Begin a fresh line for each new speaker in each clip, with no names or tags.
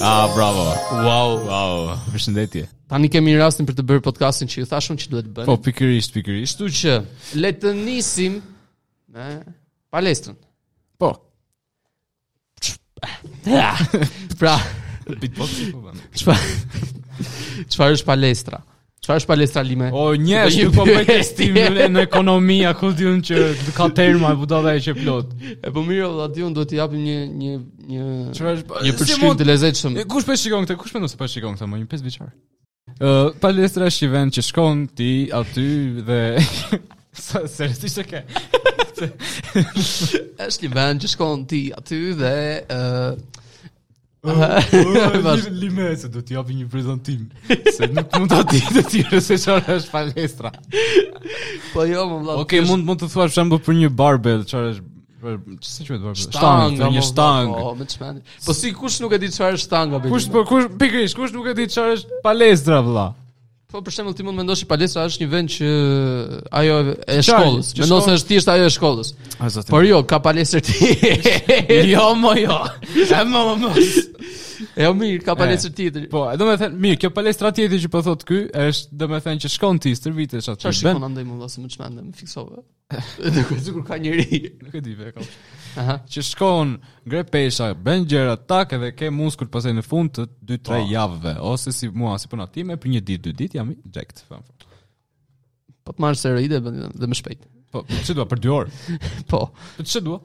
Ah, bravo.
Wow.
Wow, përshëndetje.
Tani kemi rastin për të bërë podcastin që ju thashëm që duhet të bëjmë.
Po pikërisht, pikërisht.
Kështu që le të nisim me palestrën.
Po.
Pra,
Beatboxi po bën.
çfarë çfarë është palestra? Çfarë është palestra lime?
O një,
Do
është
një
po bëj
pyetje.
testim në në ekonomi, a ku diun që ka terma budalla e që plot.
E po mirë, valla diun duhet t'i japim një një një
Çfarë është?
një përshkrim të lezetshëm.
E, Kush po e shikon këtë? Kush mendon se po e shikon këtë? Më një pesë vjeçar. Ë, palestra është një vend që shkon ti aty dhe Sa seriozisht e ke?
Është një vend që shkon ti aty dhe ë
Vazh lime se do t'i japi një prezantim. Se nuk mund ta di të tjerë se çfarë është palestra.
po jo më valla.
Okej, mund mund të thuash për shembull për një barbell, çfarë është për- ç'se quhet barbell?
shtang,
për një shtang.
Po, me çmend. Po si kush nuk e di çfarë është shtanga be?
Kush po kush pikërisht kush nuk e di çfarë është palestra vëlla.
Po për shembull ti mund mendosh që palestra është një vend që ajo e
Qartë,
shkollës.
që
Mendon se
shkollë-
është thjesht ajo e shkollës.
A zoti.
Por jo, ka palestër ti.
jo mo jo. E mo mo.
jo mirë, ka palestër tjetër.
Po, do të thënë, mirë, kjo palestra tjetër që po thot ky është do të thënë që shkon ti stërvitesh aty.
Çfarë shikon andaj më valla se më çmend, më fiksove. Nuk e di kur ka njëri.
Nuk e di ve kam.
Aha.
Që shkon, ngre pesha, bën gjëra tak edhe ke muskull pasaj në fund të 2-3 javëve ose si mua si puna time për një ditë, dy ditë jam i jacked. fam.
Po të marr steroide bën dhe më shpejt.
Po, ç'do për 2 orë.
Po.
Po ç'do?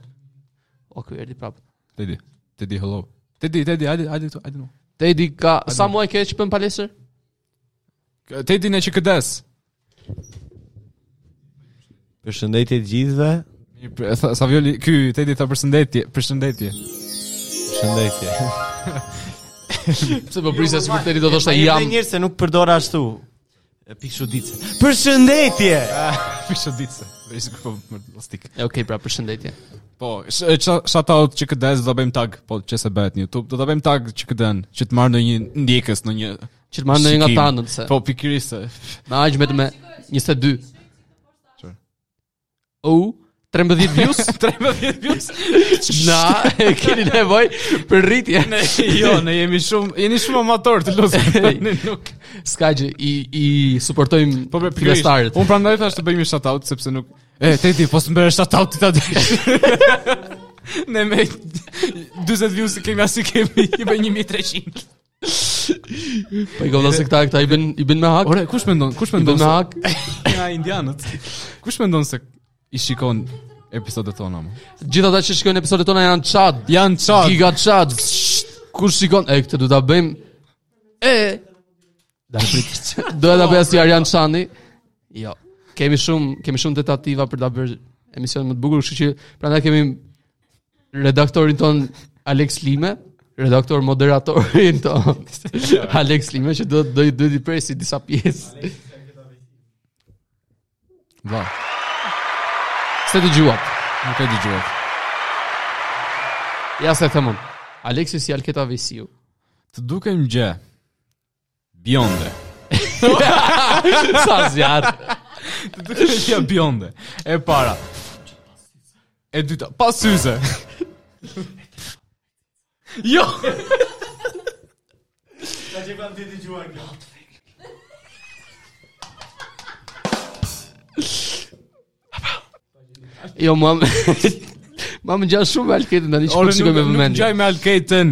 O ky erdhi prapë.
Te di. Te di hello. Te di, te di, hajde, hajde, këtu, hajde. no.
Tedi ka sa muaj ke që bën palestër?
Te di ne që këdes.
Përshëndetje të gjithëve.
Mirë, pr- tha- Savioli, ky Tedi tha përshëndetje, përshëndetje.
Përshëndetje.
Pse po prisja se Tedi do të thoshte
Ai
jam.
jam njerëz se nuk përdor ashtu. E Pikë ditë. Përshëndetje.
Përshëndetje. Vesh po më plastik.
E, Okej, pra përshëndetje.
Po, sh- e, sh- shout out që këdes do ta bëjmë tag, po që se bëhet në YouTube, do ta bëjmë tag që këden, që të marr ndonjë ndjekës në një
Që të marrë ndonjë nga
shikim.
të anët se.
Po pikërisht se.
Me aq vetëm me 22.
Çfarë?
O, 13 views?
13 views.
Na, e keni nevoj për rritje.
Ne jo, ne jemi shumë, jeni shumë amator të lutem. Ne nuk.
Ska gjë, i, i suportojmë
Po bre,
filestarët.
pikërisht. Un prandaj thash të bëjmë një shout out sepse nuk E, Tedi, po së mbërë shout out ti ta dish. ne me 40 views i kemi asi kemi i bëj 1300.
Po i kam se këta, këta i bën, i bën me hak.
Ore, kush mendon? Kush
I
mendon?
bën me
se-
hak.
nga indianët. Kush mendon se i shikon episodet tona më?
Gjithë ata që shkojnë episodet tona janë çad.
Janë çad.
Giga çad. Kur shikon, e këtë do ta bëjmë e da prit. Do ta bëj si Arjan Çani. Jo. Kemi shumë kemi shumë tentativa për ta bërë emision më të bukur, kështu që prandaj kemi redaktorin ton Alex Lime, redaktor moderatorin ton Alex Lime që do do do të presi disa pjesë.
Va,
Se dëgjuat.
nuk e dëgjova.
Ja se them unë. Alexi si Alketa Vesiu.
Të dukem gjë. Bjonde.
Sa zjarr.
Të dukem gjë bjonde. E para. E dyta, pa syze. jo.
Sa që kam ti dëgjuar kjo?
Jo, mam... Ma më gjatë shumë me alketën, tani që
Ore
nuk shikoj me
nuk- nuk
vëmendje.
gjaj me alketën.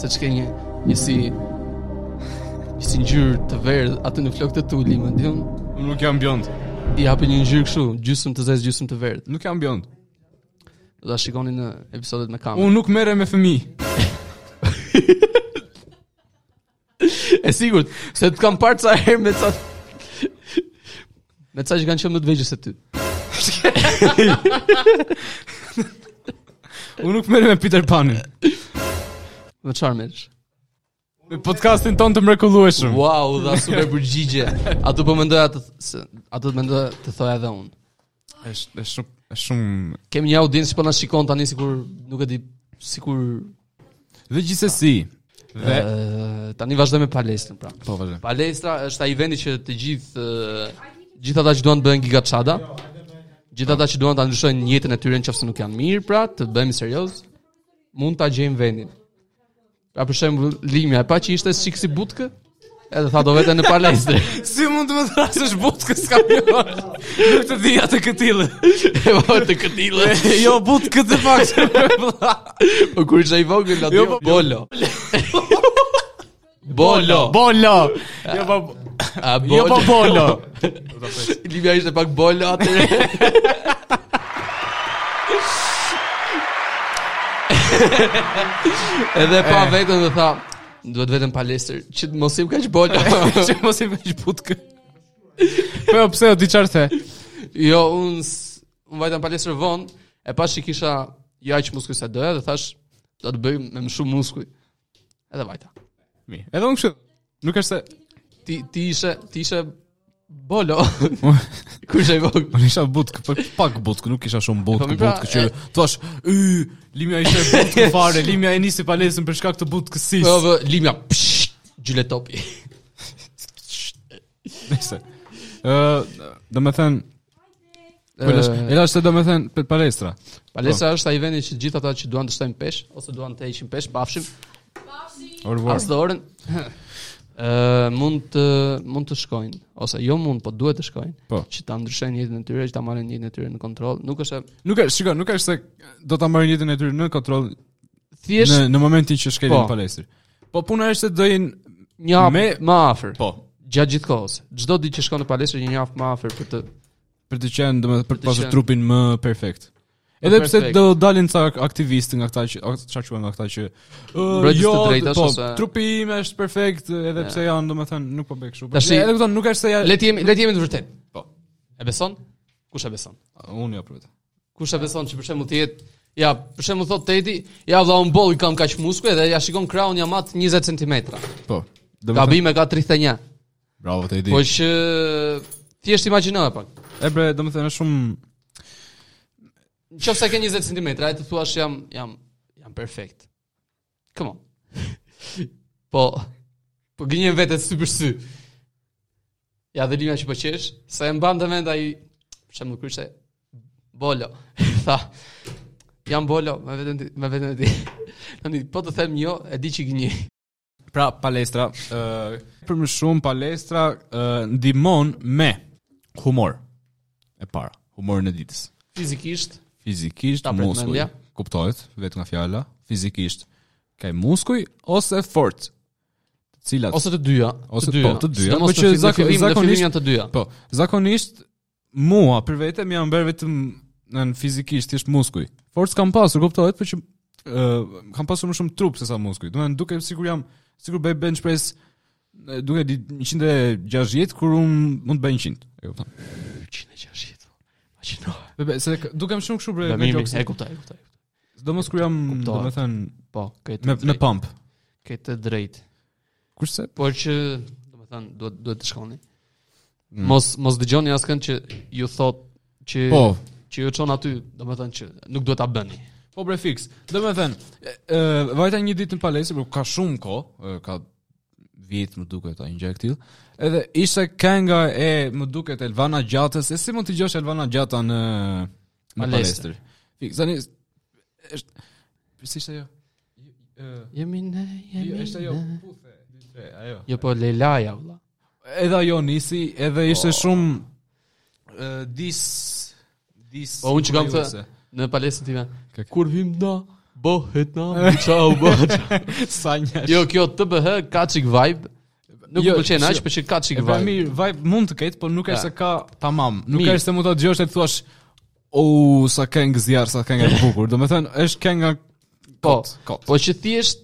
Se që ke një, një si... Një si ngjyrë të verdh aty në flok të tuli, më diun,
Unë nuk jam bjond.
i hapi një ngjyrë kështu, gjysmë të zezë, gjysmë të verdh.
Nuk jam bjond.
Do ta shikoni në episodet me kamerë.
Unë nuk merrem me fëmijë.
E sigurt, se të kam parë ca herë me ca me ca që kanë qenë më të vegjël se ty.
Unë nuk merrem me Peter Panin.
Me çfarë merresh?
Me podcastin ton të mrekullueshëm.
Wow, dha super përgjigje. Ato po mendoja të se- ato të mendoja të thoja edhe unë.
Është është shumë është shumë
Kemi një audiencë që po na shikon tani sikur nuk e di sikur
Dhe gjithsesi, dhe
Ë, tani vazhdojmë me palestrën pra.
po vazhdo.
Palestra është ai vendi që të gjithë ë, gjithë ata që duan të bëhen gigaçada, gjithë ata që duan ta ndryshojnë jetën e tyre nëse nuk janë mirë, pra të bëhemi serioz, mund ta gjejmë vendin. Ka për shembull Limja, e pa që ishte siksi butkë, edhe tha do veten në palestër.
Si mund të më thrasësh butkës kamion? Nuk të dija të këtille.
e po të këtille.
Jo, butë këtë fakt.
Po kur ishte i vogël aty.
Jo, po-
bolo. bolo.
Bolo. Jo, po
A, bolo.
jo, po bolo.
Limja ishte pak bolo atë. Edhe pa
Eh.
veten dhe tha, duhet vetëm palestër, që mos im kaq bolo.
Që mos i vesh butkë. Po jo, pse o di çfarë the?
Jo, unë s- unë vajta në palestër vonë, e pash që kisha jo aq muskuj sa doja dhe thash, do të bëj me më shumë muskuj. Edhe vajta.
Mi. Edhe unë kështu. Nuk është se
Ti ti ishe ti ishe bolo. Kur ishe i vogël.
Unë isha butkë, po pak butkë, nuk isha shumë
Po,
butkë,
mi pra,
butkë që
e-
thash,
y Limja ishte butkë fare, Limja e nisi palesën për shkak të butkësisë.
Po vë limja. psh, Gjyle topi.
nëse.
po. Ë, do të thënë,
Eh,
elash do të thënë për palestra.
Palestra është ai vendi që gjithë ata që duan të shtojnë peshë ose duan të heqin peshë, pafshim
Orvar.
as dorën. Ë mund të mund të shkojnë ose jo mund, po duhet të shkojnë
Po.
që ta ndryshojnë jetën e tyre, që ta marrin jetën e tyre në kontroll. Nuk është e-
Nuk është, shikoj, nuk është se do ta marrin jetën e tyre në kontroll
thjesht
në në momentin që shkelin
Po.
në palestër. Po puna është se do jenë
Një hap
Me-
më afër.
Po.
Gjatë gjithë kohës. Çdo ditë që shkon në palestër një hap më afër për të
për të qenë, domethënë për
të
të pasur
qenë.
trupin më perfekt. Edhe pse
perfekt.
do dalin ca aktivistë nga këta që ak- çfarë quhen nga këta që uh,
Mbrojtës të
jo,
drejtash
po,
ose-
trupi im është perfekt, edhe pse janë domethënë nuk po bëj kështu.
Tashi-
Edhe kupton, nuk është se ja
Le të jemi le të jemi të vërtet.
Po.
E beson? Kush e beson?
Unë jo për vetë.
Kush e beson që për shembull të jetë Ja, për shembull thot Teti, ja valla un boll i kam kaq muskuj dhe ja shikon kraun jam atë 20 cm.
Po. Do të
Gabime ka 31.
Bravo te
Po
di.
që thjesht imagjino e pak.
e bre, domethënë është shumë
Nëse ke 20 cm, ai të thuash jam jam jam perfekt. Come on. Po po gënjen vetë sy për sy. Ja dhe lima që po qesh, sa e mban vend ai për shembull kur ishte bolo. Tha jam bolo me veten ti- me veten e ti. Tani po të them jo, e di që gënjej.
pra palestra, ë për më shumë palestra ë, ndihmon me humor.
E para, humorin e ditës.
Fizikisht
Fizikisht
Ta pret
muskuj.
mendja.
Kuptohet vetë nga fjala, fizikisht. Ka muskuj ose fort. Të cilat
ose të dyja,
Ose-
të dyja.
po, të dyja,
Sidomos
po që
në fi- në
zako-
fillim- në fillim
zakonisht-
janë të dyja.
Po,
Zakonisht mua për vete më janë bërë vetëm në në fizikisht thjesht muskuj. Forcë kam pasur, kuptohet, por që uh, kam pasur më shumë trup se sa muskuj. Do të thënë duke sikur jam sikur bëj bench press e, duke di 160 kur un mund të bëj 100. E kupton.
160. Imagjino.
Be- be, Se k- dukem shumë kështu bre me
Dëmimi, e
jokes.
kuptoj, e kuptoj.
Sidomos kur jam,
kuptohet.
domethënë,
Po, këtë
me me pump.
Këtë të drejtë.
Kurse
Por që, do të thënë, duhet, duhet të shkoni. Mos, mos dëgjoni askën që ju thot që,
po,
që ju qonë aty, do të thënë që nuk duhet ta bëni.
Po bre fix. Do me thënë, e, e, vajta një ditë në palestër, por ka shumë ko, e, ka vjet më duket ai gjë e tillë. Edhe ishte kënga e më duket Elvana Gjatës, e si mund të dëgjosh Elvana Gjata në në palestër.
Palestër.
Fix, tani është si ishte ajo? Ë,
Jemi ne,
jo,
jemi
Ishte ajo
ne.
puthe, diçka, ajo.
Jo, po Lelaja, vëlla.
Edhe ajo nisi, edhe ishte
Po.
shumë e, dis dis.
Po unë që kam
kurioze.
thënë në palesën time,
Ka-
kur hym na, bëhet na, çau bëhet.
sa një
Jo, kjo të bëhë ka çik vibe. Nuk
Jo,
më pëlqen aq,
shiko.
por që ka çik
E pra
vibe.
mirë, vibe mund të ketë, por nuk është
Ja.
se ka tamam. Nuk
Mirë.
është se mund ta dëgjosh e të thuash O, sa këngë zjarë, sa këngë e bukur. Do me thënë, është këngë nga
Po,
kot, kot.
po që thjesht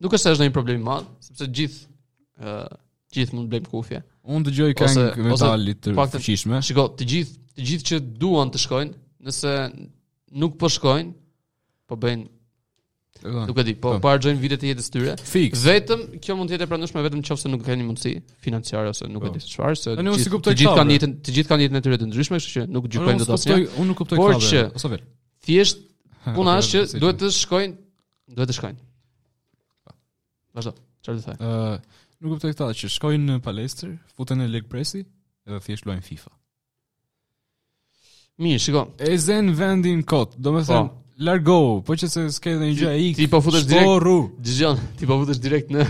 nuk është se është ndonjë problem i madh, sepse gjithë ë gjithë mund të blejmë kufje.
Unë dëgjoj këngë
Ose- ose
metalit të
pak të-
fuqishme.
Shiko, të gjithë, të gjithë që duan të shkojnë, nëse nuk po shkojnë, po bëjnë, nuk e di, po
Po.
po harxojnë vitet e jetës tyre.
Fix.
Vetëm kjo mund të jetë e pranueshme vetëm nëse nuk kanë mundësi financiare ose nuk e
Po.
di se çfarë, se
Unë
të
si
gjithë-
kuptoj
të gjithë
këta,
kanë
bre.
jetën, të gjithë kanë jetën e tyre të ndryshme, kështu që nuk gjykojnë
Unë
dot
nuk
asnjë.
kuptoj- Unë nuk kuptoj
Por
klave,
që-
ose vel.
Thjesht puna
ok,
është që
si Po.
duhet të shkojnë, duhet të shkojnë. Vazhdo. Çfarë do të thaj?
Ë, nuk kuptoj këta që shkojnë në palestër, futen në leg presi, edhe thjesht luajnë FIFA.
Mirë, shiko.
E zen vendin kot, do me thënë, largo, po që se s'ke ndonjë gjë
Ti-
ik.
ti po futesh direkt-
Shporru.
Dëgjon, ti po futesh direkt në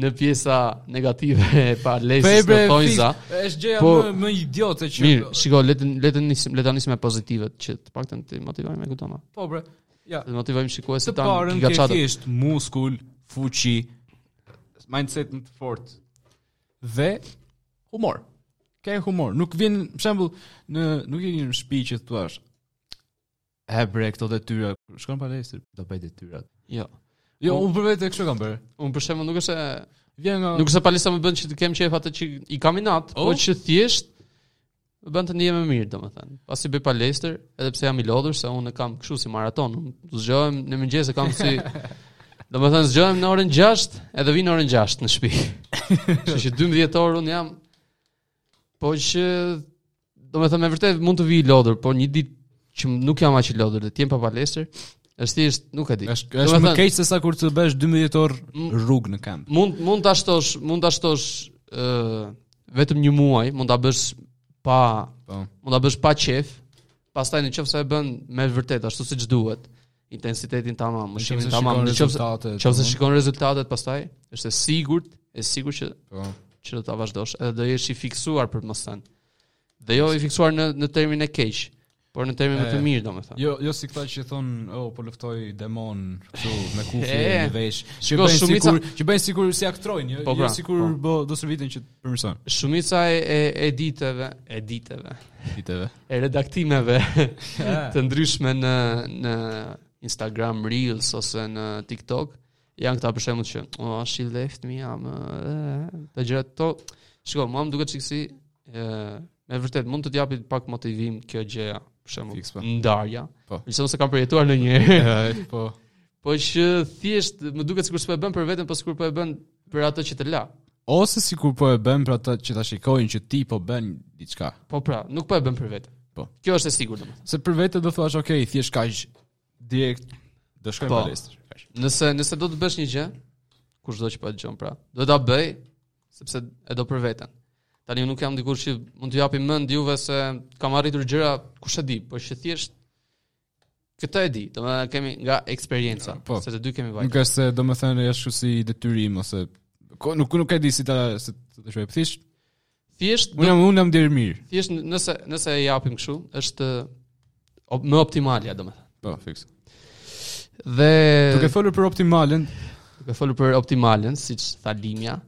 në pjesa negative e palesës
Pebre,
në tojza.
Është gjëja
Po-
më më idiote që
Mirë, shiko, le të le të nisim le ta nisim me pozitivet që të paktën të motivojmë e kuptona.
po bre. Ja,
Të motivojmë shikuesit
të
tan
parën ke
gigaçatë.
thjesht muskull, fuqi, mindset më të fortë dhe humor. Ke humor. Nuk vjen për shembull në nuk je në shtëpi që thua E bre këto detyra, shkon palestër, do bëj detyrat.
Jo.
Jo,
Po-
unë për vetë kështu kam bërë.
Unë për shembull nuk është se
Vjen nga
nuk është se palesa më bën që të kem qejf atë që i kam inat, po
Oh.
që thjesht më bën të ndihem më mirë, domethënë. Pasi bëj palestër, edhe pse jam i lodhur se unë e kam kështu si maraton, unë zgjohem në mëngjes e kam si domethënë zgjohem në orën 6 edhe vi në orën 6 në shtëpi. Kështu që 12 orë unë jam po që domethënë me vërtet mund të vi i lodhur, por një ditë që nuk jam aq i lodhur dhe të jem pa palestër, është thjesht nuk e di.
është është më
Domethënë-
keq se sa kur të bësh 12 orë
Mm.
rrugë në kamp.
mund mund ta shtosh, mund ta shtosh ë vetëm një muaj, mund ta bësh pa
Po.
mund ta bësh pa qef. Pastaj në qoftë se e bën me vërtet ashtu siç duhet, intensitetin tamam, mëshimin tamam, në qoftë se-
rezultatet.
qoftë se shikon po. rezultatet pastaj, është e sigurt, e sigurt që
Po.
që do ta vazhdosh, edhe do jesh i fiksuar për mos thënë. Dhe jo i fiksuar në në termin e keq, por në termin më të
E,
mirë domethënë.
Jo, jo si këta që thon, "Oh, po luftoj demon kështu me kufi
E,
në vesh." Që
shiko,
bëjnë sikur,
shumica-
që bëjnë sikur si aktrojnë, jo,
Po,
jo
pra,
sikur bo, do shërbitin që të përmirësojnë
Shumica e, e, e diteve, e diteve,
ditëve.
e redaktimeve të ndryshme në në Instagram Reels ose në TikTok janë këta për shembull që oh she left me am të gjëra to shikoj mua më duket çiksi ë me vërtet mund të të japi pak motivim kjo gjëja për
Fiks, po.
shembull ndarja
Po.
po se kam përjetuar ndonjëherë
po.
po që thjesht më duket sikur s'po e bën për veten po sikur po e bën për atë që të la
Ose sikur po e bën për ata që ta shikojnë që ti po bën diçka.
po pra nuk po e bën për veten
Po.
kjo është e sigurt domethënë
Se për vete do thuash, "Ok, thjesht kaq direkt do shkojmë
Po.
palestër." Kaq.
Nëse nëse do të bësh një gjë, kushdo që po e dëgjon pra, do ta bëj sepse e do për veten. Tani unë nuk jam dikur që mund të japi mend juve se kam arritur gjëra, kush e di, por që thjesht këtë e di, domethënë kemi nga eksperjenca,
Po.
se të dy kemi
Nuk
vajtë.
është se do më thënë është kështu si detyrim ose ko, nuk nuk e di si ta se të shoj. Thjesht
Thjesht
unë
do,
jam unë jam deri mirë.
thjesht n- nëse nëse e japim kështu, është op, më optimalja domethënë.
Po, fiks.
Dhe
Duke folur për optimalen,
duke folur për optimalen, siç tha Limja.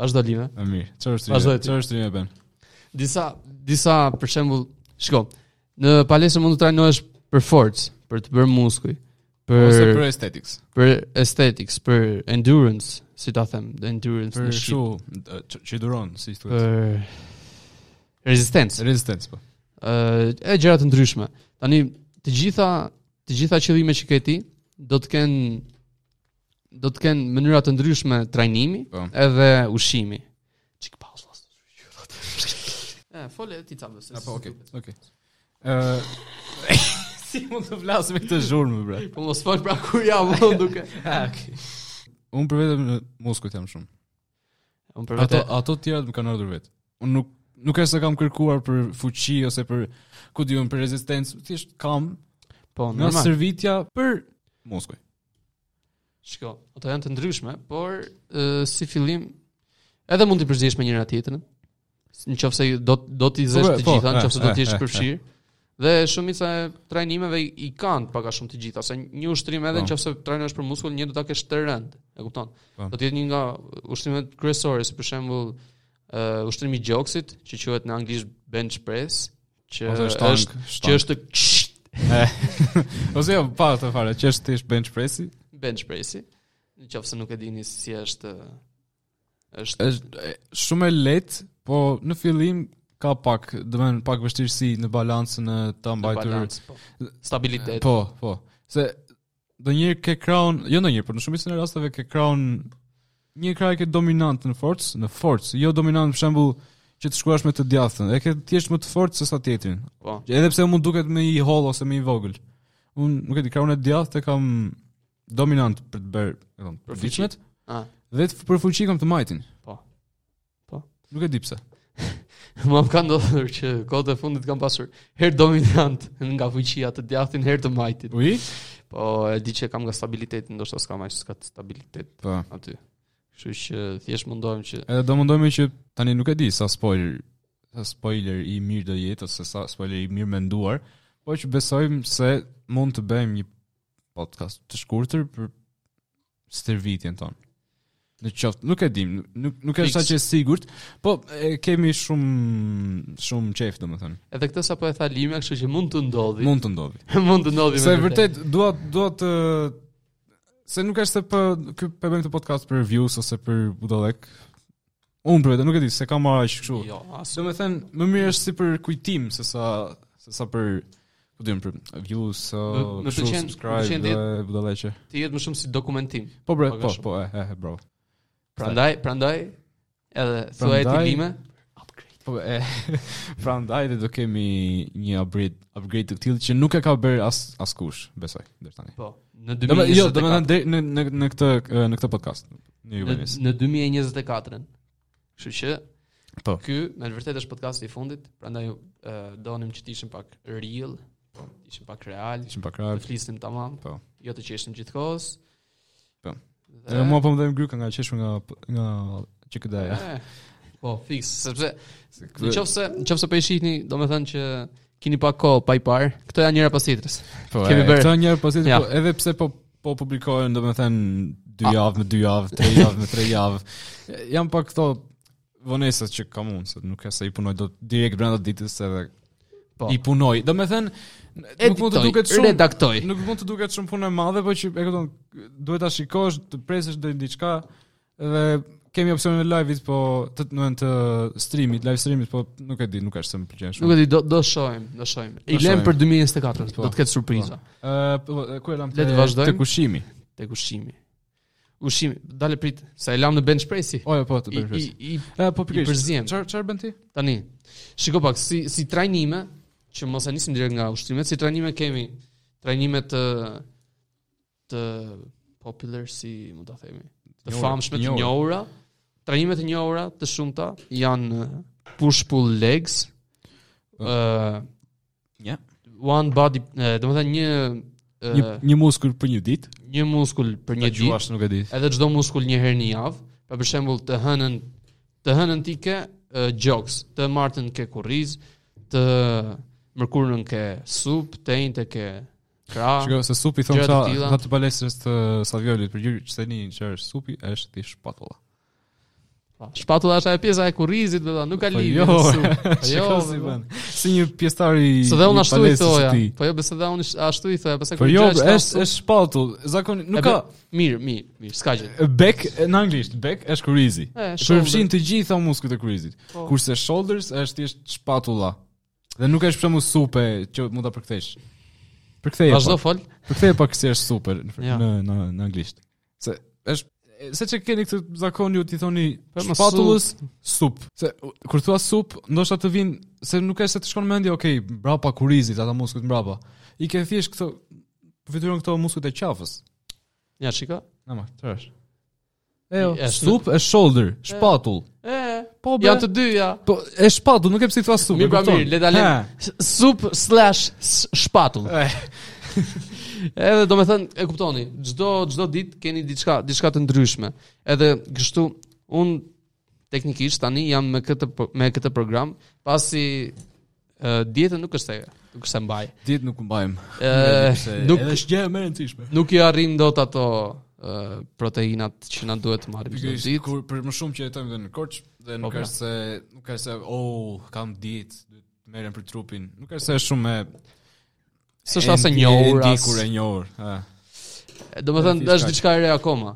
Vazhdo Lime.
e mirë. Çfarë është?
Vazhdoj ti.
Çfarë është e bën?
disa disa për shembull, shiko, në palestër mund të trajnohesh për forcë, për të bërë muskuj, për
Ose
për,
për aesthetics.
aesthetics, për endurance, si ta them, the endurance
Për
në
kështu
shqip,
d- ç- që duron, si thuhet.
për rezistencë,
Rezistencë po.
ë, e gjëra të ndryshme. Tani të gjitha të gjitha qëllimet që ke ti do të kenë do të kenë mënyra të ndryshme trajnimi
Po.
edhe ushqimi. Çik pauzë. vllaz. E, fole ti ta bëse.
Apo okay. Okay. Ë si mund të flas me këtë zhurmë bre?
Po mos fol pra kur jam unë duke.
Unë për vetëm në muskujt jam shumë.
Unë për
Ato
vetë.
ato të tjerat më kanë ardhur vetë. Unë nuk nuk është se kam kërkuar për fuqi ose për ku diun për rezistencë, thjesht kam
Po,
nga
normal.
servitja për muskuj.
Shiko, ato janë të ndryshme, por ë, si fillim edhe mund të përzihesh me njëra tjetrën. Në qoftë se do do t'i zesh
Po,
të
po,
gjitha, në
e,
qoftë se do
e,
të jesh
e, e.
përfshirë. Dhe shumica e trajnimeve i- i kanë pak a shumë të gjitha, se një ushtrim edhe
Po.
në qoftë se trajnohesh për muskull, një do ta kesh të rënd, e kupton?
Po.
Do të jetë një nga ushtrimet kryesore, si për shembull ë ushtrimi i gjoksit, që quhet në anglisht bench press, që
Ose shtang,
është që
shtang.
është
Ose jo, pa të fare, që është thjesht bench pressi.
bench pressi. Në qoftë se nuk e dini si është është
Është e, shumë e lehtë, po në fillim ka pak, do të thënë pak vështirësi në balancën e ta
në
mbajtur.
balancë, po. Stabilitet.
Po, po. Se ndonjëherë ke kraun, jo ndonjëherë, por në shumicën e rasteve ke kraun një krah e ke dominant në forcë, në forcë, jo dominant për shembull që të shkuash me të djathtën. E ke thjesht më të fortë se sa tjetrin.
Po.
Edhe pse unë duket më i holl ose më i vogël. Unë nuk e di, kraun e djathtë e kam dominant për të bërë, e kam,
Për
për
fuqi.
fuqimet,
Ah,
Dhe të për fuqi kam të majtin.
Po. Po.
Nuk e di pse.
Mua më ka ndodhur që kohët e fundit kam pasur herë dominant nga fuqia të djathtin, herë të majtit.
Ui?
Po e di që kam nga stabiliteti, ndoshta s'kam aq s'ka stabilitet
Po.
aty. Kështu që thjesht mundohem që
Edhe do mundohemi që tani nuk e di sa spoiler sa spoiler i mirë do jetë ose sa spoiler i mirë menduar, po që besojmë se mund të bëjmë një podcast të shkurtër për stërvitjen tonë. Në qoftë, nuk e dim, nuk nuk është
Fix.
saqë e sigurt, po e kemi shumë shumë qejf domethënë.
edhe këtë sapo e tha Lima, kështu që mund të ndodhi.
Mund të ndodhi.
mund të ndodhi.
Se
me
vërtet dua dua të se nuk është se po ky po bëjmë të podcast për views ose për budallek. Unë për vetë nuk e di se kam marrë aq kështu.
Jo, as.
Do me thënë, më mirë është si për kujtim, se sa, se sa për, po dim, për views,
Më-
uh,
më
kështu,
pëlqen- më
subscribe,
pëlqen
dhe
dhe-
budaleqe.
Ti jetë më shumë si dokumentim.
Po bre,
Pak a
po,
shumë.
po, e, e, e, bravo.
Prandaj, prandaj edhe thuaj
Pra-
ti
Prandaj-
Lima,
Po, e, pra ndaj dhe do kemi një upgrade, upgrade të këtil që nuk e ka bërë as, as kush, besoj, dërë tani.
po, në
Do me,
2024.
jo, do me thënë, deri në, në, në, këtë, eh, në këtë podcast, në
në,
juvenis.
në 2024-ën. Kështu që
Po.
Ky me të vërtetë është podcasti i fundit, prandaj uh, donim që të ishim pak real, po, të ishim pak real,
Ishim pak
të
rarë.
flisnim tamam,
Po.
jo të qeshim gjithkohës.
Po.
Dhe-
Edhe mua po më dhe më gryka nga qeshur nga, nga qikëdaja.
Eh, Po, fix, sepse
kë-
në qoftë se në qoftë se po e shihni, domethënë që keni pak kohë pa i parë, këto janë njëra pas tjetrës.
Po,
Kemi
e,
bërë.
Këta njerë pasit,
Ja.
po, edhe pse po po publikohen, do me thënë, dy javë me dy javë, tre javë me tre javë, e, jam pak këto vonesat që kam unë, se nuk e se i punoj, do direkt brenda ditës edhe
Po.
i punoj. Do me thënë, nuk mund të
Editoj,
duket shumë,
redaktoj.
nuk mund të duket shumë punë e madhe, po që e kupton, duhet ta shikosh, të presësh deri diçka dhe kemi opsionin e live-it, po të do të, thënë, të streamit, live streamit, po nuk e di, nuk është se më pëlqen
Nuk
shumë.
e di, do do shohim, do shohim. I
Do
lëm
shohim.
për 2024,
Po.
do të ketë surpriza.
Ë, po, ku e lam?
Le të
te-
vazhdojmë.
Te kushimi.
Tek ushqimi. Ushqimi, dale prit, sa e lam në bench pressi.
O, jo, po, të
I,
bëj.
i, i
E, po
i përziem.
Çfar çfarë bën ti?
Tani, shiko pak, si, si trajnime, që mos e nisim direkt nga ushtrimet, si trajnime kemi trajnime të, të popular, si mund ta themi, të
Njohura,
famshme,
të
të
njohura.
njohura, trajnime të njohura, të shumta, janë uh, push pull legs,
Ah.
uh,
Ja.
one body, uh, do të thënë një, uh,
Një një muskull për një ditë.
një muskull për një ditë,
nuk e di.
edhe çdo muskull një herë në javë. Pa për shembull të hënën, të hënën ti ke uh, gjoks, të martën ke kurriz, të mërkurën ke sup, të njëjtë ke krah.
Shikoj se supi thon
Ah. gjëra të
sa
tilla.
sa të palestrës të Saviolit për gjyrë çteni që është supi është ti shpatulla.
Pa, Shpatulla është ajo pjesa e kurrizit, do të thonë, nuk ka
Po
lidhje.
jo,
me sup. Po
Shiko si
vëlla.
bën. Si një pjesëtar i
Se dhe unë
i
ashtu i
palestrës
thoja.
ti.
Po jo, besoj dhe unë ish- ashtu i thoja, pastaj
Po
kur
jo,
gjëra që
është është shpatull. Zakon
E
nuk
be-
ka
mirë, mirë, mirë, s'ka gjë.
back në anglisht, back është kurizi.
E,
Përfshin të gjitha muskujt e kurizit.
Po.
Kurse shoulders është thjesht shpatulla. Dhe nuk është për shembull supe që mund ta përkthesh. Përktheje. po.
Vazhdo fol.
Përkthej pak se është super në
Ja.
në në, në anglisht. Se është se që keni këtë zakon ju ti thoni
Po, mos
shpatullës sup. Se u, kur thua sup, ndoshta të vinë se nuk është se të shkon mendja, okay, mbrapa kurizit, ata muskujt mbrapa. I ke thjesht këto fytyrën këto muskujt e qafës.
Ja, shiko.
Na më, trash. Ejo,
I- jo, është
sup e shoulder, shpatull.
E,
Po be.
janë të dyja.
Po e shpatull, nuk e pse i thua sup.
Mirë,
e
pra
kupton?
mirë, le ta lëm.
Ha.
S- Sup slash s- shpatull.
Eh.
Edhe do me thënë, e kuptoni, gjdo, gjdo dit keni diçka, diçka të ndryshme. Edhe kështu, unë teknikisht tani jam me këtë, po- me këtë program, pasi uh, dietën nuk është e, nuk është e mbaj.
Ditë nuk u mbajmë.
Eh,
Nuk
nuk,
është gjë e më e rëndësishme.
nuk i arrim dot ato uh, proteinat që na duhet të marrim çdo
Pikërisht
ditë.
kur për më shumë që jetojmë dhe në Korç dhe nuk
pra.
është se nuk është se oh kam ditë duhet të merrem për trupin. Nuk është se është shumë e
S'është as e
ndi-
njohur,
e
as.
ndikur e njohur. Ha.
Do me thënë,
Diçka.
është diçka e re akoma.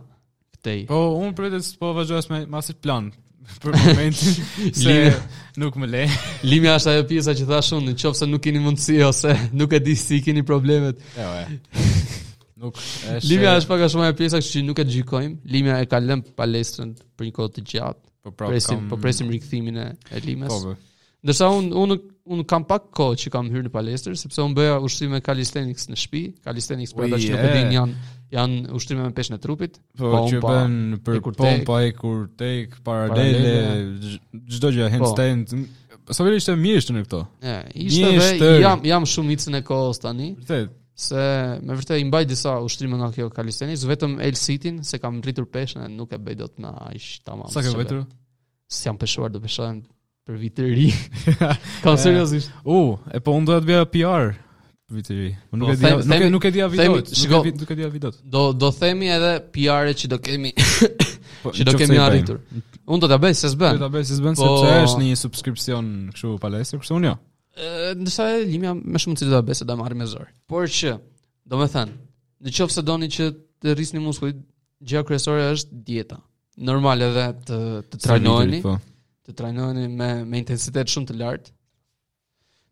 Këtej.
Po unë për vetë po vazhdoj me masit plan për momentin se
Lime.
nuk më le.
Limi është ajo pjesa që thash unë, në qoftë se nuk keni mundësi ose nuk e di si keni problemet.
Jo e. Nuk është
Limja është pak a shumë ajo pjesa që nuk e gjykojmë. Limja e ka lënë palestrën për një kohë të gjatë.
po prap
Presim,
kam-
po presim rikthimin e, e
Po,
Limes.
bë.
Ndërsa unë unë unë kam pak kohë që kam hyrë në palestër sepse unë bëja ushtrime calisthenics në shtëpi. Calisthenics për ata
Ui,
që nuk e
e.
din janë janë ushtrime me peshën e trupit.
Po
pompa,
që bën për
ekur tek.
pompa e kur tek, paralele,
Paralele. Po.
gj- çdo gjë handstand. Saveri ishte mjeshtër në këto.
E, ishte dhe
Mjeshtër.
jam jam shumë icën e kohës tani,
Vërtet.
se me vërtet i mbaj disa ushtrime nga kjo kalisthenics, vetëm El City-n se kam rritur peshën e nuk e bëj dot na aq tamam.
Sa ke
se
vetur?
Si jam peshuar do peshohem për vit të ri. kam seriozisht.
U, e po unë doja të bëja PR vitin e ri. Unë Nuk
Po,
e di,
them-
nuk e
them-
nuk e di a
them-
vidot.
shiko.
Nuk e di- nuk e di a vidot.
Do do themi edhe PR-et që do kemi,
Po,
që do
qoftë
kemi
se i bëjmë.
arritur. Unë do ta bëj se s'bën.
Do ta bëj si s'bën
Po-
sepse është një subskripsion kështu palestër, kështu unë jo.
Ë, ndërsa e limja më shumë si do ta bëj se do ta marr me zor. Por që, domethënë, në qoftë se doni që të rrisni muskujt, gjëja kryesore është dieta. Normal edhe të të trajnoheni,
Po.
të trajnoheni me me intensitet shumë të lartë.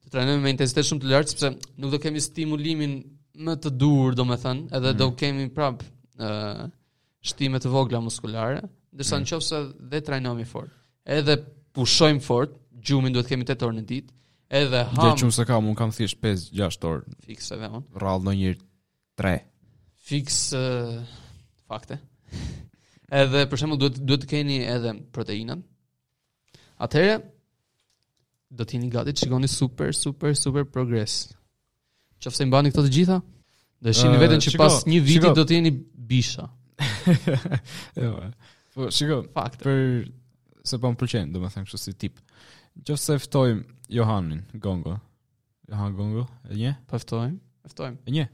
Të trajnoheni me intensitet shumë të lartë sepse nuk do kemi stimulimin më të dur, domethënë, edhe do kemi prap ë shtime të vogla muskulare, ndërsa në qoftë se dhe trajnohemi fort. Edhe pushojmë fort, gjumin duhet kemi 8 orë në ditë, edhe
Dhe
ham
çum se kam, un kam thjesht 5-6 orë
Fiks edhe unë.
rradh ndonjëherë 3.
Fiks ë, fakte. Edhe për shembull duhet duhet të keni edhe proteinën. Atëherë do t'jeni gati të shikoni super super super progres. Qofse i mbani këto të gjitha, do e shihni
Ë,
veten që
shiko,
pas një viti
shiko.
do të jeni bisha.
Jo. e. Po, shiko,
Fakte.
për se po më pëlqen, domethënë kështu si tip. Nëse ftojmë Johanin Gongo. Johan Gongo, e një?
Po ftojmë, e ftojmë.
E një.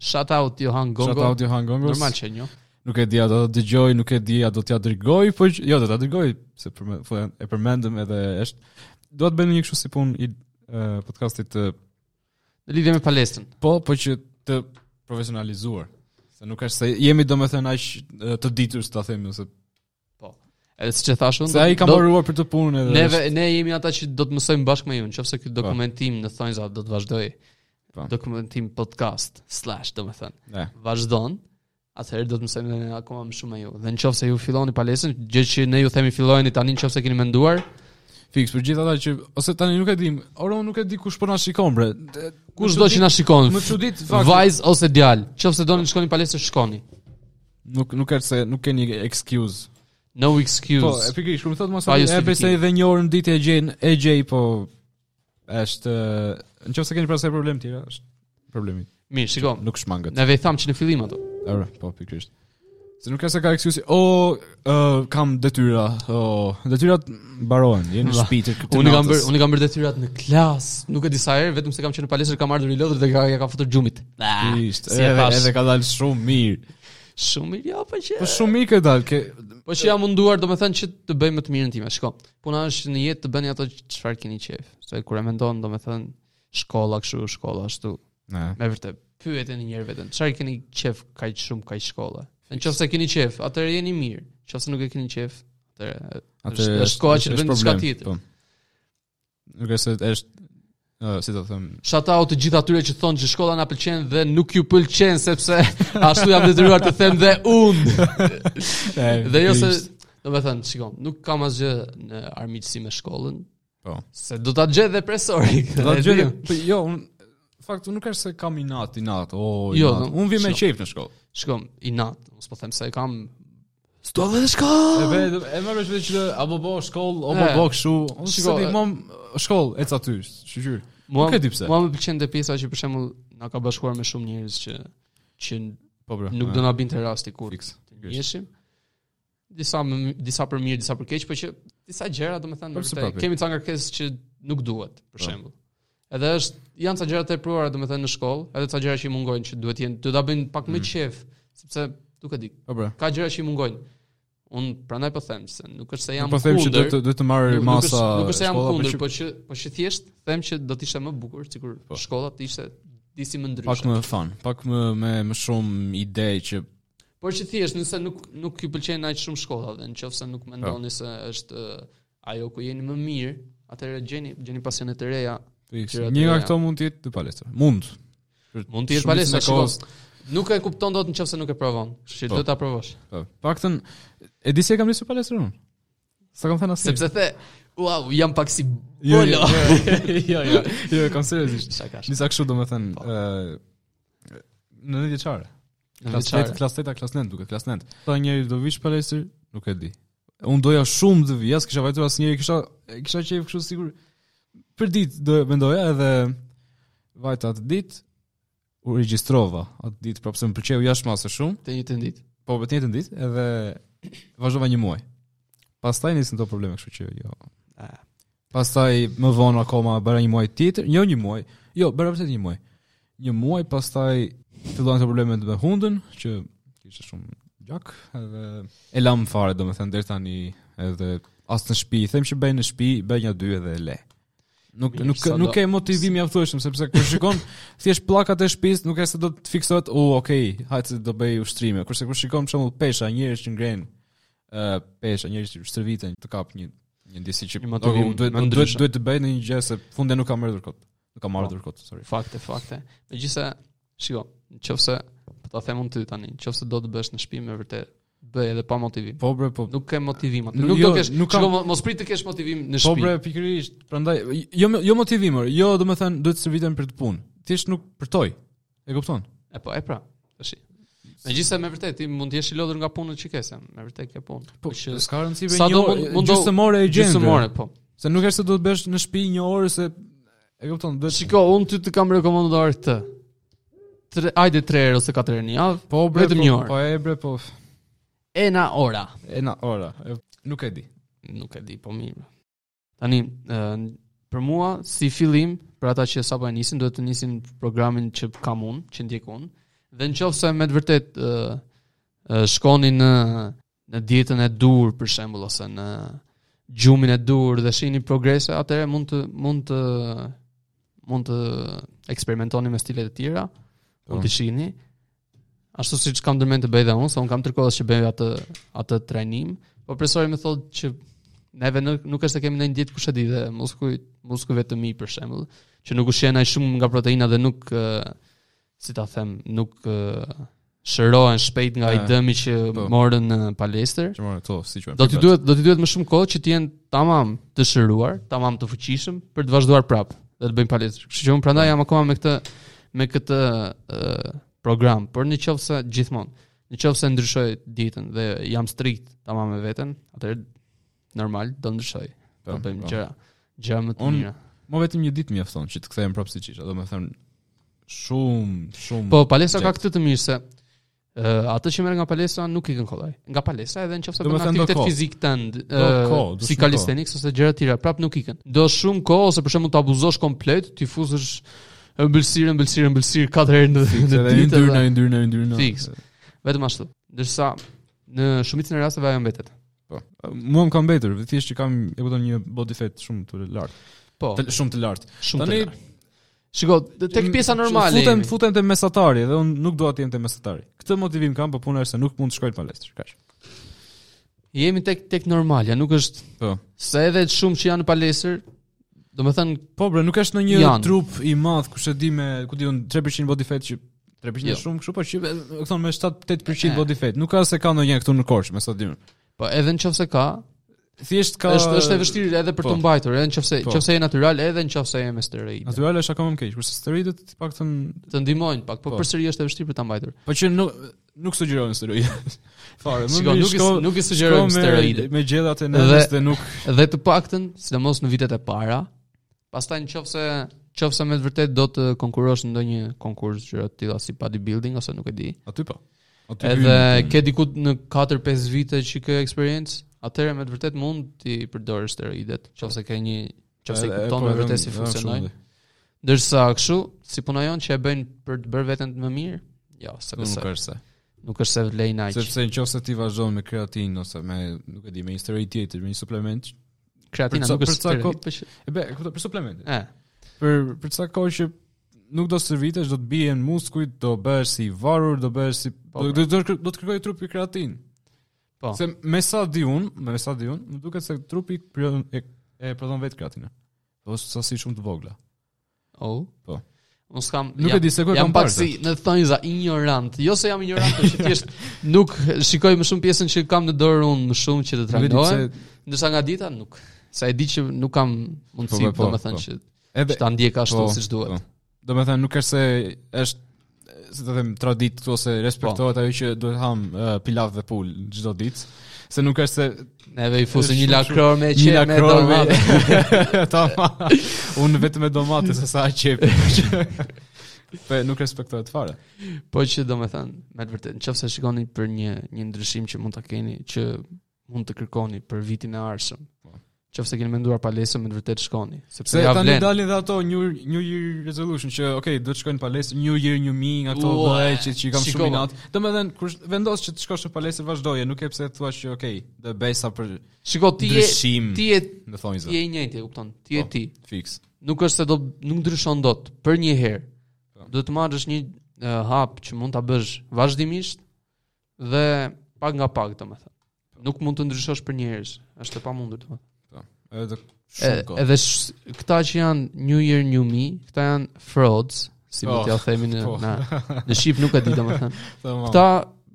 Shout out Johan Gongo.
Shout out Johan Gongo.
Normal që e njoh.
Nuk e di a do ta dëgjoj, nuk e di a do t'ja dërgoj, po që- jo do ta dërgoj, se përme- po e përmendëm edhe është do të bëjmë një kështu si punë i e, podcastit të
Në lidhje me palestrën.
po, po që të profesionalizuar. Se nuk është se jemi domethënë aq e, të ditur, s'ta themi ose
Edhe siç e thash unë,
se ai ka mbaruar për të punën edhe.
Neve
është-
ne jemi ata që do të mësojmë bashkë me ju, nëse ky dokumentim në thonjza do të vazhdoj.
Po.
Dokumentim podcast slash domethënë.
Ne.
Vazhdon. Atëherë do të mësojmë ne akoma më shumë me ju. Dhe nëse ju filloni palestrën, gjë që ne ju themi fillojeni tani nëse keni menduar,
Fiks për gjithë ata që ose tani nuk e di, ora unë nuk e di kush po na shikon bre. Dhe-
kush
më
do
çudit-
që na shikon,
Më çudit fakti.
vajz ose djalë, nëse doni të shkoni në palestrë shkoni.
Nuk nuk është se nuk keni excuse.
No
Po,
excuse.
e pikërisht, kur më thot mos
Pa
e
justifikim.
besoj edhe një orë në ditë e gjen, e gjej, po është ë, nëse keni pasaj problem tjera, është problemi.
Mirë, shiko.
Nuk shmanget.
Neve i tham që në fillim ato.
Ora, po pikërisht. Se nuk ka se ka excuse, o ë, kam detyra, o detyrat mbarohen, jeni në
Va,
shtëpi të këtij.
Unë i kam bër, unë i kam bër detyrat në klas, nuk e di sa herë, vetëm se kam qenë në palestër kam ardhur i lodhur dhe ka ja ka futur gjumit. Ah, si e
edhe
thash.
edhe ka dalë shumë mirë.
Shumë mirë, ja, po që.
Po shumë mirë ka dalë, ke
Po që jam munduar, domethënë që të bëj më të mirën time. Shiko, puna është në jetë të bëni ato që- çfarë keni qejf. Se kur e mendon, domethënë shkolla kështu, shkolla ashtu.
ne.
Me vërtet, pyeteni një herë veten, çfarë keni qejf kaq shumë kaq shkolla? Në qoftë se keni qejf, atëherë jeni mirë. Nëse nuk e keni qejf, atëherë
Atë
Është- është koha që të bëjmë diçka
problem,
tjetër.
po. Nuk është se është ë, si të them,
Shout out të gjithë atyre që thonë që shkolla na pëlqen dhe nuk ju pëlqen sepse ashtu jam detyruar të them dhe unë. Dhe jo se, domethënë, shikon, nuk kam asgjë në armiqësi me shkollën.
Po.
Se do ta gjej dhe presori.
Do
e
të gjej.
di.
Po jo, unë fakt unë nuk është se kam i natë, i natë. O, i
Jo,
natë.
do-
unë vi me
so.
qejf në shkollë.
Shikon, i nat, mos po them se e kam
E ve e më vesh vetë që apo po shkollë, o po
E.
po kështu. Unë
Shiko,
s'e di
e-
mom shkollë ec aty, shqyr.
Mua,
Nuk e di pse.
Mua më pëlqen te pjesa që për shembull na ka bashkuar me shumë njerëz që që
Po bro.
nuk do na binte rasti kur
fiks.
të njeshim. Disa më- disa për mirë, disa për keq, por që disa gjëra domethënë
Po, pse
vërtet
papi?
kemi ca ngarkesë që nuk duhet, për
Po.
shembull. Edhe është janë ca gjëra të pruara domethënë në shkollë, edhe ca gjëra që i mungojnë që duhet jenë, do ta bëjnë pak
Mm.
më qef, sepse nuk e di.
Po bro.
Ka gjëra që i mungojnë. Unë prandaj po them se nuk është se jam
Po them që do
kundër,
të do të marr
Nuk-
masa.
Nuk është, nuk është se jam
shkolla,
kundër,
që Po.
po që po që thjesht them që do të ishte më bukur sikur shkolla të ishte disi më
pak
ndryshe.
më fan, pak më me më shumë ide që
Por që thjesht nëse nuk nuk ju pëlqen aq shumë shkolla dhe nëse
Po.
nuk mendoni se është ë, ajo ku jeni më mirë, atëherë gjeni gjeni pasione të reja.
fiks.
Gjërat
Një nga
reja.
këto mund të jetë të palestra. Mund.
Mund të jetë
Shumicën
palestra,
e
shiko.
kohës-
Nuk e kupton dot nëse nuk e provon. Kështu që
Po.
duhet ta provosh.
Po, Paktën e di se e kam nisur palestra unë. Sa kam thënë asnjë.
Sepse the, wow, jam pak si
Jo,
bolo.
jo, jo, jo, kam seriozisht.
Shaka, shaka.
Disa kështu do me thënë ë, Në në vjeqare Klas 8, klas 8, klas 9 duke, klas 9 Ta njeri do vish palestër, nuk e di Unë doja shumë të vi, as kisha vajtur as njeri Kisha, e kisha qef kështu sigur për ditë do mendoja edhe vajta atë ditë u regjistrova atë ditë prapë se më pëlqeu jashtëmasë shumë,
Të një të ndit.
po vetë njëjtën ditë edhe vazhdova një muaj. Pastaj nisin të probleme, kështu që jo.
Ah.
Pastaj më vonë akoma bëra një muaj tjetër, jo një muaj. Jo, bëra vërtet një muaj. Një muaj pastaj filluan të problemet me hundën që kishte shumë gjak edhe e lam fare domethënë deri tani edhe as në shtëpi, them që bëj në shtëpi, bëj një dy edhe e le. Nuk
Mirë,
nuk
sa
nuk
do-
e motivim mjaftueshëm sepse kur shikon thjesht pllakat e shtëpisë nuk e se do të fiksohet, u, oh, okay, hajtë se do bëj ushtrime. Kurse kur shikon për shembull pesha, njerëz që ngrenë ë pesha, njerëz që stërviten të kap një një ndjesi që
Një motivim
Ok, duhet
më
duhet
ndryshe.
duhet të bëj në një gjë se funde nuk kam ardhur kot. Nuk kam ardhur
Po.
kot, sorry.
Fakte, fakte. Me gjithse, shiko, në qofse, po ta them unë ty tani, në qofse do të bësh në shtëpi me vërtet, bëj edhe pa motivim.
Po bre, po.
Nuk ke motivim aty.
Nuk-
Nuk
jo,
do kesh,
nuk kam-
shiko, mo- mos prit të kesh motivim në
Po
shtëpi.
bre, pikërisht. Prandaj jo jo motivim, or, jo domethënë duhet të stërviten për të punë. Thjesht nuk përtoj. E kupton?
E po, e pra, tash. Megjithëse me vërtet ti mund të jesh i lodhur nga punën që ke se, me vërtet ke punë.
Po,
Që
s'ka rëndësi për
sa
një
do
orë,
mund- mund do-
gjysmore e gjen.
gjysmore, po.
Se nuk është se do të bësh në shtëpi një orë se e kupton, duhet
Shiko, unë ty të kam rekomanduar këtë. Tre, ajde 3 herë ose 4 herë në javë.
po bre.
vetëm
po-
një orë.
Po e bre, po.
E na ora.
E na ora. e- Nuk e di.
Nuk e di, po mirë. Tani, ë, për mua si fillim, për ata që sapo e nisin, duhet të nisin programin që kam unë, që ndjek unë. Dhe nëse me të vërtet ë, ë, shkoni në në dietën e dur për shembull ose në gjumin e dur dhe shihni progrese, atëherë mund të mund të mund të eksperimentoni me stilet e tjera,
Po.
mund të shihni. Ashtu siç kam ndërmend të bëj dhe unë, se unë kam tërkohës që bëj atë atë trajnim, po profesori më thotë që neve nuk, nuk është se kemi ndonjë dietë kushedi dhe muskuj muskujve të mi për shembull, që nuk ushqen ai shumë nga proteina dhe nuk ë, si ta them, nuk ë, shërohen shpejt nga ai
E,
dëmi që
po.
morën në palestër.
Çmore, to, si po, quhen.
Do t'i duhet do t'i duhet më shumë kohë që të jenë tamam të shëruar, tamam të fuqishëm për të vazhduar prapë dhe të bëjnë palestër. Kështu që unë
Po.
prandaj jam akoma me këtë me këtë ë, program, por në qoftë se gjithmonë, në qoftë se ndryshoj dietën dhe jam strikt tamam me veten, atëherë normal do ndryshoj.
po,
Do bëjmë gjëra, gjëra më të
Unë-
mira.
Mo vetëm një ditë mjafton që të kthehem prapë siç isha, domethënë shumë shumë
Po palestra ka
Gjekt.
këtë të mirë se ë atë që merr nga palestra nuk i kën kollaj. Nga palestra edhe nëse
Do
bën
me thënë do
aktivitet
kohë.
fizik tënd,
Do kohë, do
ë si
shumë
calisthenics ose gjëra të tjera, prap nuk ikën. Do shumë kohë ose për shembull të abuzosh komplet, ti fuzësh ëmbëlsirë, ëmbëlsirë, ëmbëlsirë katër herë në në
Se dhe
ditë.
ndyrna,
edhe-
ndyrna, ndyrna.
Fix. Vetëm ashtu. Ndërsa në shumicën e rasteve ajo mbetet.
Po. Mua më ka mbetur, thjesht që kam, e kupton, një body fat shumë të lartë.
Po,
Të- Shumë të lartë.
shumë të
tani-
lartë. Shiko, d- tek pjesa normale.
Futem
jemi.
futem te mesatari dhe unë nuk dua të jem te mesatari. Këtë motivim kam, po puna është se nuk mund të shkoj në palestër, kaq.
Jemi tek tek normalja, nuk është
Po.
se edhe shumë që janë në palestër, domethënë
Po, bre, nuk është në një
Janë.
trup i madh kush e di me, ku diun 3% body fat që 3%
Jo.
është shumë, kështu po që e kupton me 7-8%
E.
body fat. Nuk ka se ka ndonjë këtu në Korçë, me sa dim.
po edhe nëse ka,
Thjesht ka
është është e vështirë edhe për
po.
të mbajtur, edhe nëse
Po.
nëse je natyral, edhe nëse je me steroide.
Natyral është akoma më keq, kurse steroidet të paktën
Të ndihmojnë pak, po
Po.
përsëri është e vështirë për ta mbajtur.
po që nuk nuk sugjerojnë steroide. Fare, më
Shikoj,
mirë
nuk i
shko-
nuk i sugjerojmë
shko me-
steroide.
Me gjellat e nënës dhe nuk
Dhe të paktën, sidomos në vitet e para, pastaj nëse nëse me të vërtet do të konkurosh në ndonjë konkurs gjëra të tilla si bodybuilding ose nuk e di.
aty po. Aty
Edhe
hyn-
ke diku në 4-5 vite që ke eksperiencë, atëherë me të vërtet mund ti përdorësh steroidet, nëse ke një nëse i
Edhe-
kupton
po,
me
edhe-
vërtet si
edhe
funksionojnë.
shumë.
Ndërsa kështu, si puna jonë që e bëjnë për të bërë veten më mirë, jo, se
Nuk
besoj.
është se.
Nuk është se vlej naq.
Sepse nëse ti vazhdon me kreatin ose me nuk e di, me një steroid tjetër, me një suplement.
Kreatina
Për ca-
nuk është
për ca
steroid,
ko-
po që-
E be, e kuptoj, për suplemente.
E,
Për për çka kohë që nuk do servitesh, do të bien muskujt, do bëhesh si i varur, do bëhesh si do, do, do, do të kërkoj trupi kreatin.
Po.
Se me sa di un, me sa di un, më duket se trupi prion- e, e prodhon vetë kreatinën. Po sa si shumë të vogla.
oh.
Po.
Unë s'kam
Nuk e di se ku e
jam
kam
pak
parë
si në thonjza ignorant. Jo se jam ignorant, por që thjesht nuk shikoj më shumë pjesën që kam në dorë unë më shumë që të
Nuk e di
trajnoj,
pse-
ndërsa nga dita nuk. Sa e di që nuk kam mundësi,
Po, po, po,
domethënë
po.
që
Edhe
që ta ndjek ashtu
Po,
siç duhet.
po. Do me thënë nuk është se është si të them tradit këtu ose respektohet ajo që duhet ham eh, pilav dhe pul çdo ditë, se nuk është se
Neve i fusin
Shumë,
një
shumë.
lakror me
Një
qe me
lakror me-
domate.
Tama. Unë vetëm me domate se sa qep. Pe nuk respektohet fare.
Po që do me thënë, me të vërtet, në qëfë se shikoni për një, një ndryshim që mund të keni, që mund të kërkoni për vitin e arshëm, qëfë se keni menduar pa lesën, me të vërtet shkoni, sepse
Se
ja
tani
vlen.
dalin dhe ato New Year- New Year resolution që okay, do të shkojnë në palestër New Year New Me nga ato
Ua,
bëj që që i kam
shikova.
shumë inat. Domethënë kur sh- vendos që të shkosh në palestër vazhdoje, nuk e pse thua që okay, do e bëj sa për
Shiko, ti je,
ndryshim,
ti je,
në
ti
thonjza.
je i njëjti, e kupton, ti je
Po.
ti.
Fix.
Nuk është se do, nuk ndryshon dot, për një herë. Do të marrësh një uh, hap që mund ta bësh vazhdimisht dhe pak nga pak, do me thënë. Nuk mund të ndryshosh për njerëz, është e pamundur domethënë.
Edhe
E-
shumë kohë.
Edhe sh- këta që janë New Year New Me, këta janë frauds, si mund
Oh,
t'ja themi në
po.
na, në shqip nuk e di domethënë.
Tamam.
Këta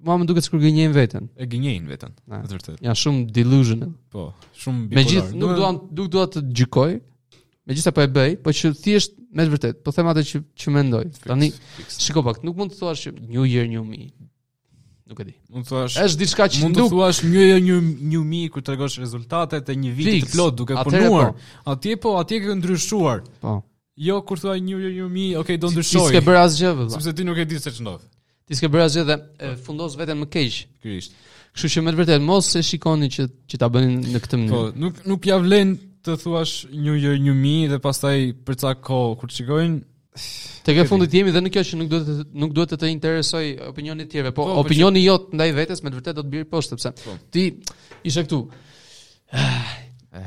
mua më duket sikur gënjejnë veten.
e gënjejnë veten,
Na.
në të vërtetë.
Janë shumë delusional.
Po, shumë bipolar.
Megjithë nuk
Domethënë-
duan nuk dua të gjykoj, megjithëse po e bëj, po që thjesht me të vërtet, po them atë që që mendoj. Tani shiko pak, nuk mund të thuash që New Year New Me. Nuk e di.
mund të thuash
Është diçka që
Mund të
nuk
thuash një një një, një mi kur tregosh rezultatet e një viti
Fix.
të plot duke
Atëherë
punuar. Atje po, atje ke ndryshuar.
po.
Jo kur thua një një një mi, okay, do
Ti s'ke
ndryshoj.
bërë asgjë vëlla.
Sepse ti nuk e di se ç'ndodh.
Ti s'ke bërë asgjë dhe e, fundos veten më keq.
Pikërisht.
Kështu që me të vërtet mos e shikoni që që ta bëni në këtë mënyrë.
Po, nuk nuk ja vlen të thuash një një një mi dhe pastaj për ca kohë kur shikojnë Po,
Tek e fundit jemi dhe në kjo që nuk duhet të- nuk duhet të të interesoj opinioni të tjerëve, po,
Po, po
opinioni jot ndaj vetes me të vërtet do të bjerë poshtë sepse ti ishe këtu. "Ah,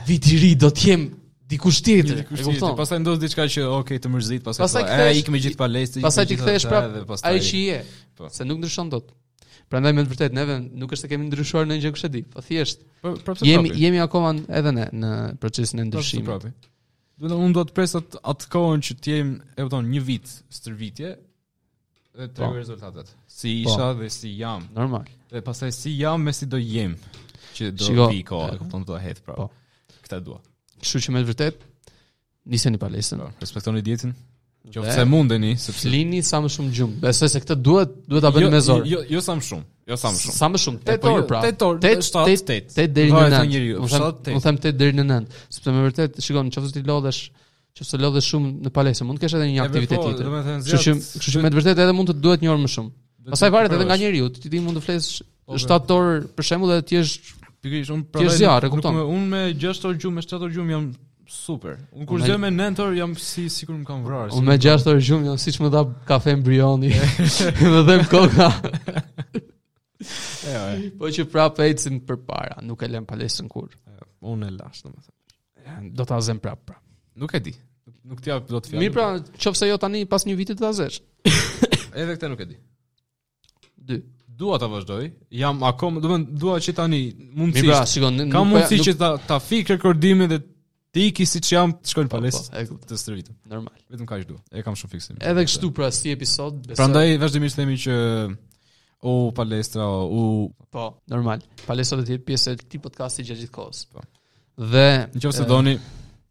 Viti i ri do të jem dikush tjetër.
Një
E
dikush tjetër.
kupton?
Pastaj ndodh diçka që okay, të mërzit, pastaj
Pastaj
thua,
kthehesh-
"E, ikë me gjithë palestrin."
Pastaj ti kthehesh prap ai që je,
Po.
se nuk ndryshon dot. Prandaj me të vërtet neve nuk është se kemi ndryshuar në një gjë kush e di, po thjesht
pra,
jemi jemi akoma edhe ne në procesin e
ndryshim
ndryshimit.
Po, prapë. Do të unë do të pres atë atë kohën që të jem, e kupton, një vit stërvitje dhe të
Po.
tregoj rezultatet. Si isha dhe si jam.
Normal.
Dhe pastaj si jam me si do jem. Që do
Shiko,
vi kohë, e kupton, do het prapë.
po.
Këtë dua.
Kështu që me të vërtet niseni palestën.
Po, respektoni dietën.
Dhe-
Qoftë se mundeni, sepse
Flini sa më shumë gjumë. Besoj se këtë duhet duhet ta bëni me zor.
Jo, jo sa më shumë. Jo sa më shumë.
Sa më shumë, 8
Tetë
orë
orë,
pra.
tetë orë, shtatë, tetë.
8 deri në
Varet nga
9.
njeriu,
Unë them,
shtatë, tetë.
unë them 8 deri në 9, sepse me vërtet, shikon, nëse ti lodhesh, nëse lodhesh shumë në palesë, mund të kesh edhe një
po,
aktivitet tjetër. Kështu që, kështu që me të vërtet edhe mund të të duhet një orë më shumë. Pastaj varet edhe nga njeriu, ti ti mund të flesh
Po,
7 orë për shembull dhe ti jesh
Pikërisht unë
Ti je
prandaj
zjarr, e
nuk- nuk
kupton.
me- Unë me 6 orë gjumë, me 7 orë gjumë jam super. Unë kur
Unë me-
zë me 9 orë jam si sikur më kanë vrarë.
unë me 6 orë gjumë, jam siç më dha kafe embrioni. Më dhem koka.
orë.
Po që prapë ecim përpara, nuk e lëm palesën kur.
Unë e lash domethënë.
Do ta zëm prapë. Pra.
Nuk e di. Nuk t'ja do të fjalë.
Mirë pra, qofse jo tani pas një viti të ta zesh.
edhe këtë nuk e di.
pra- Dy.
Dua ta vazhdoj. Jam akoma, do të thënë, dua që tani
Mirë pra,
mundësisht.
shikon, nuk
Ka
po-
mundësi
nuk-
që ta ta fik rekordimin dhe të iki siç jam të shkoj në
Po,
palestër
po, e kuptoj.
të stërvitem.
normal.
Vetëm kaq dua. E kam shumë fiksim.
Edhe kështu pra si episod, besoj.
Prandaj vazhdimisht themi që o palestra, o
po, normal. Palestra do të jetë pjesë e këtij podcasti gjatë gjithë kohës.
Po.
Dhe
nëse
e,
doni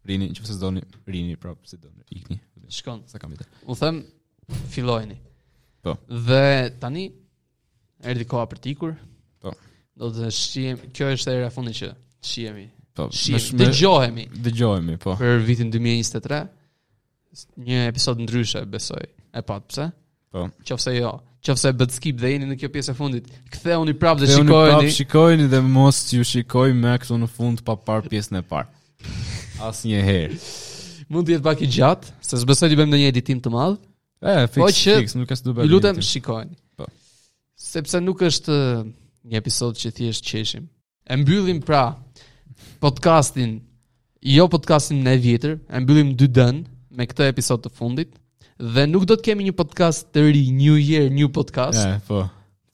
rini, nëse doni rini prap, si doni ikni.
shikon,
Sa kam ide.
u them fillojeni.
Po.
Dhe tani erdhi koha për tikur.
Po.
Do të shihem, kjo është era e fundit që shihemi.
Po,
Shihemi, dëgjohemi
dëgjojmë, po.
për vitin 2023. Një episod ndryshe, besoj. E pa pse?
Po.
Qofse jo, qofse bëtë skip dhe jeni në kjo pjesë e fundit, ktheuni prapë dhe
Dhe unë prap
shikojeni.
shikojni dhe mos ju shikoj me këtu në fund pa parë pjesën e parë. Asnjëherë.
Mund të jetë pak i gjatë, se s'besoj të bëjmë ndonjë editim të madh.
E, fix,
Po që-
fix, nuk as do bëj.
Ju lutem shikojeni.
Po.
Sepse nuk është ë, një episod që thjesht qeshim. E mbyllim pra podcastin, jo podcastin në e vjetër, e mbyllim dy dën me këtë episod të fundit dhe nuk do të kemi një podcast të ri, New Year, New Podcast.
E, po.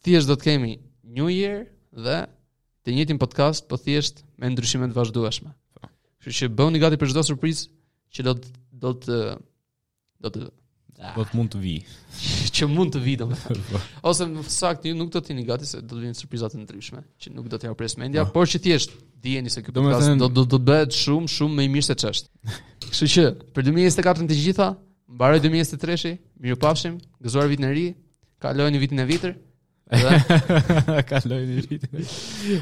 Thjesht do të kemi New Year dhe të njëjtin podcast, po thjesht me ndryshime të vazhdueshme. Kështu që bëhuni gati për çdo surprizë që do të do të do të
Po të mund të vi.
që mund të vi domethënë. Ose në fakt ju nuk do të jeni gati se do të vinë surpriza të ndryshme që nuk do t'ja pres mendja, por që thjesht dijeni se ky podcast
Domethënë-
do do do bëhet shumë shumë më i mirë se ç'është. Kështu që për 2024 të gjitha, mbaroj 2023-shi, mirupafshim, gëzuar vitin e ri kalojnë vitin e vitër. Edhe
Kaloj një rritë.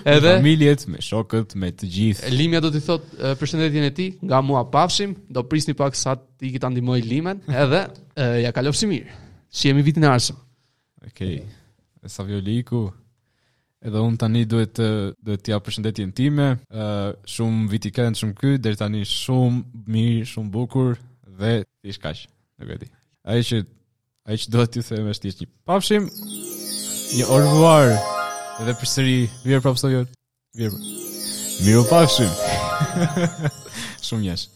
edhe
familjet, me shokët, me të gjithë.
Limja do t'i thot e, përshëndetjen e tij, nga mua pafshim, do prisni pak sa ti kita ndihmoj Limen, edhe e, ja kalofshi mirë. Shihemi vitin e ardhshëm.
Okej. Okay. Savio Liku. Edhe unë tani duhet të duhet t'ja përshëndetjen time. Ë shumë viti kënd, shumë ky, deri tani shumë mirë, shumë bukur dhe ti kaq. Nuk e di. Ai që ai që do t'ju them është thjesht një pafshim. Një au revoir. Edhe përsëri, vjerë prapë Savio. Vjerë. Miru pafshim. shumë njesh.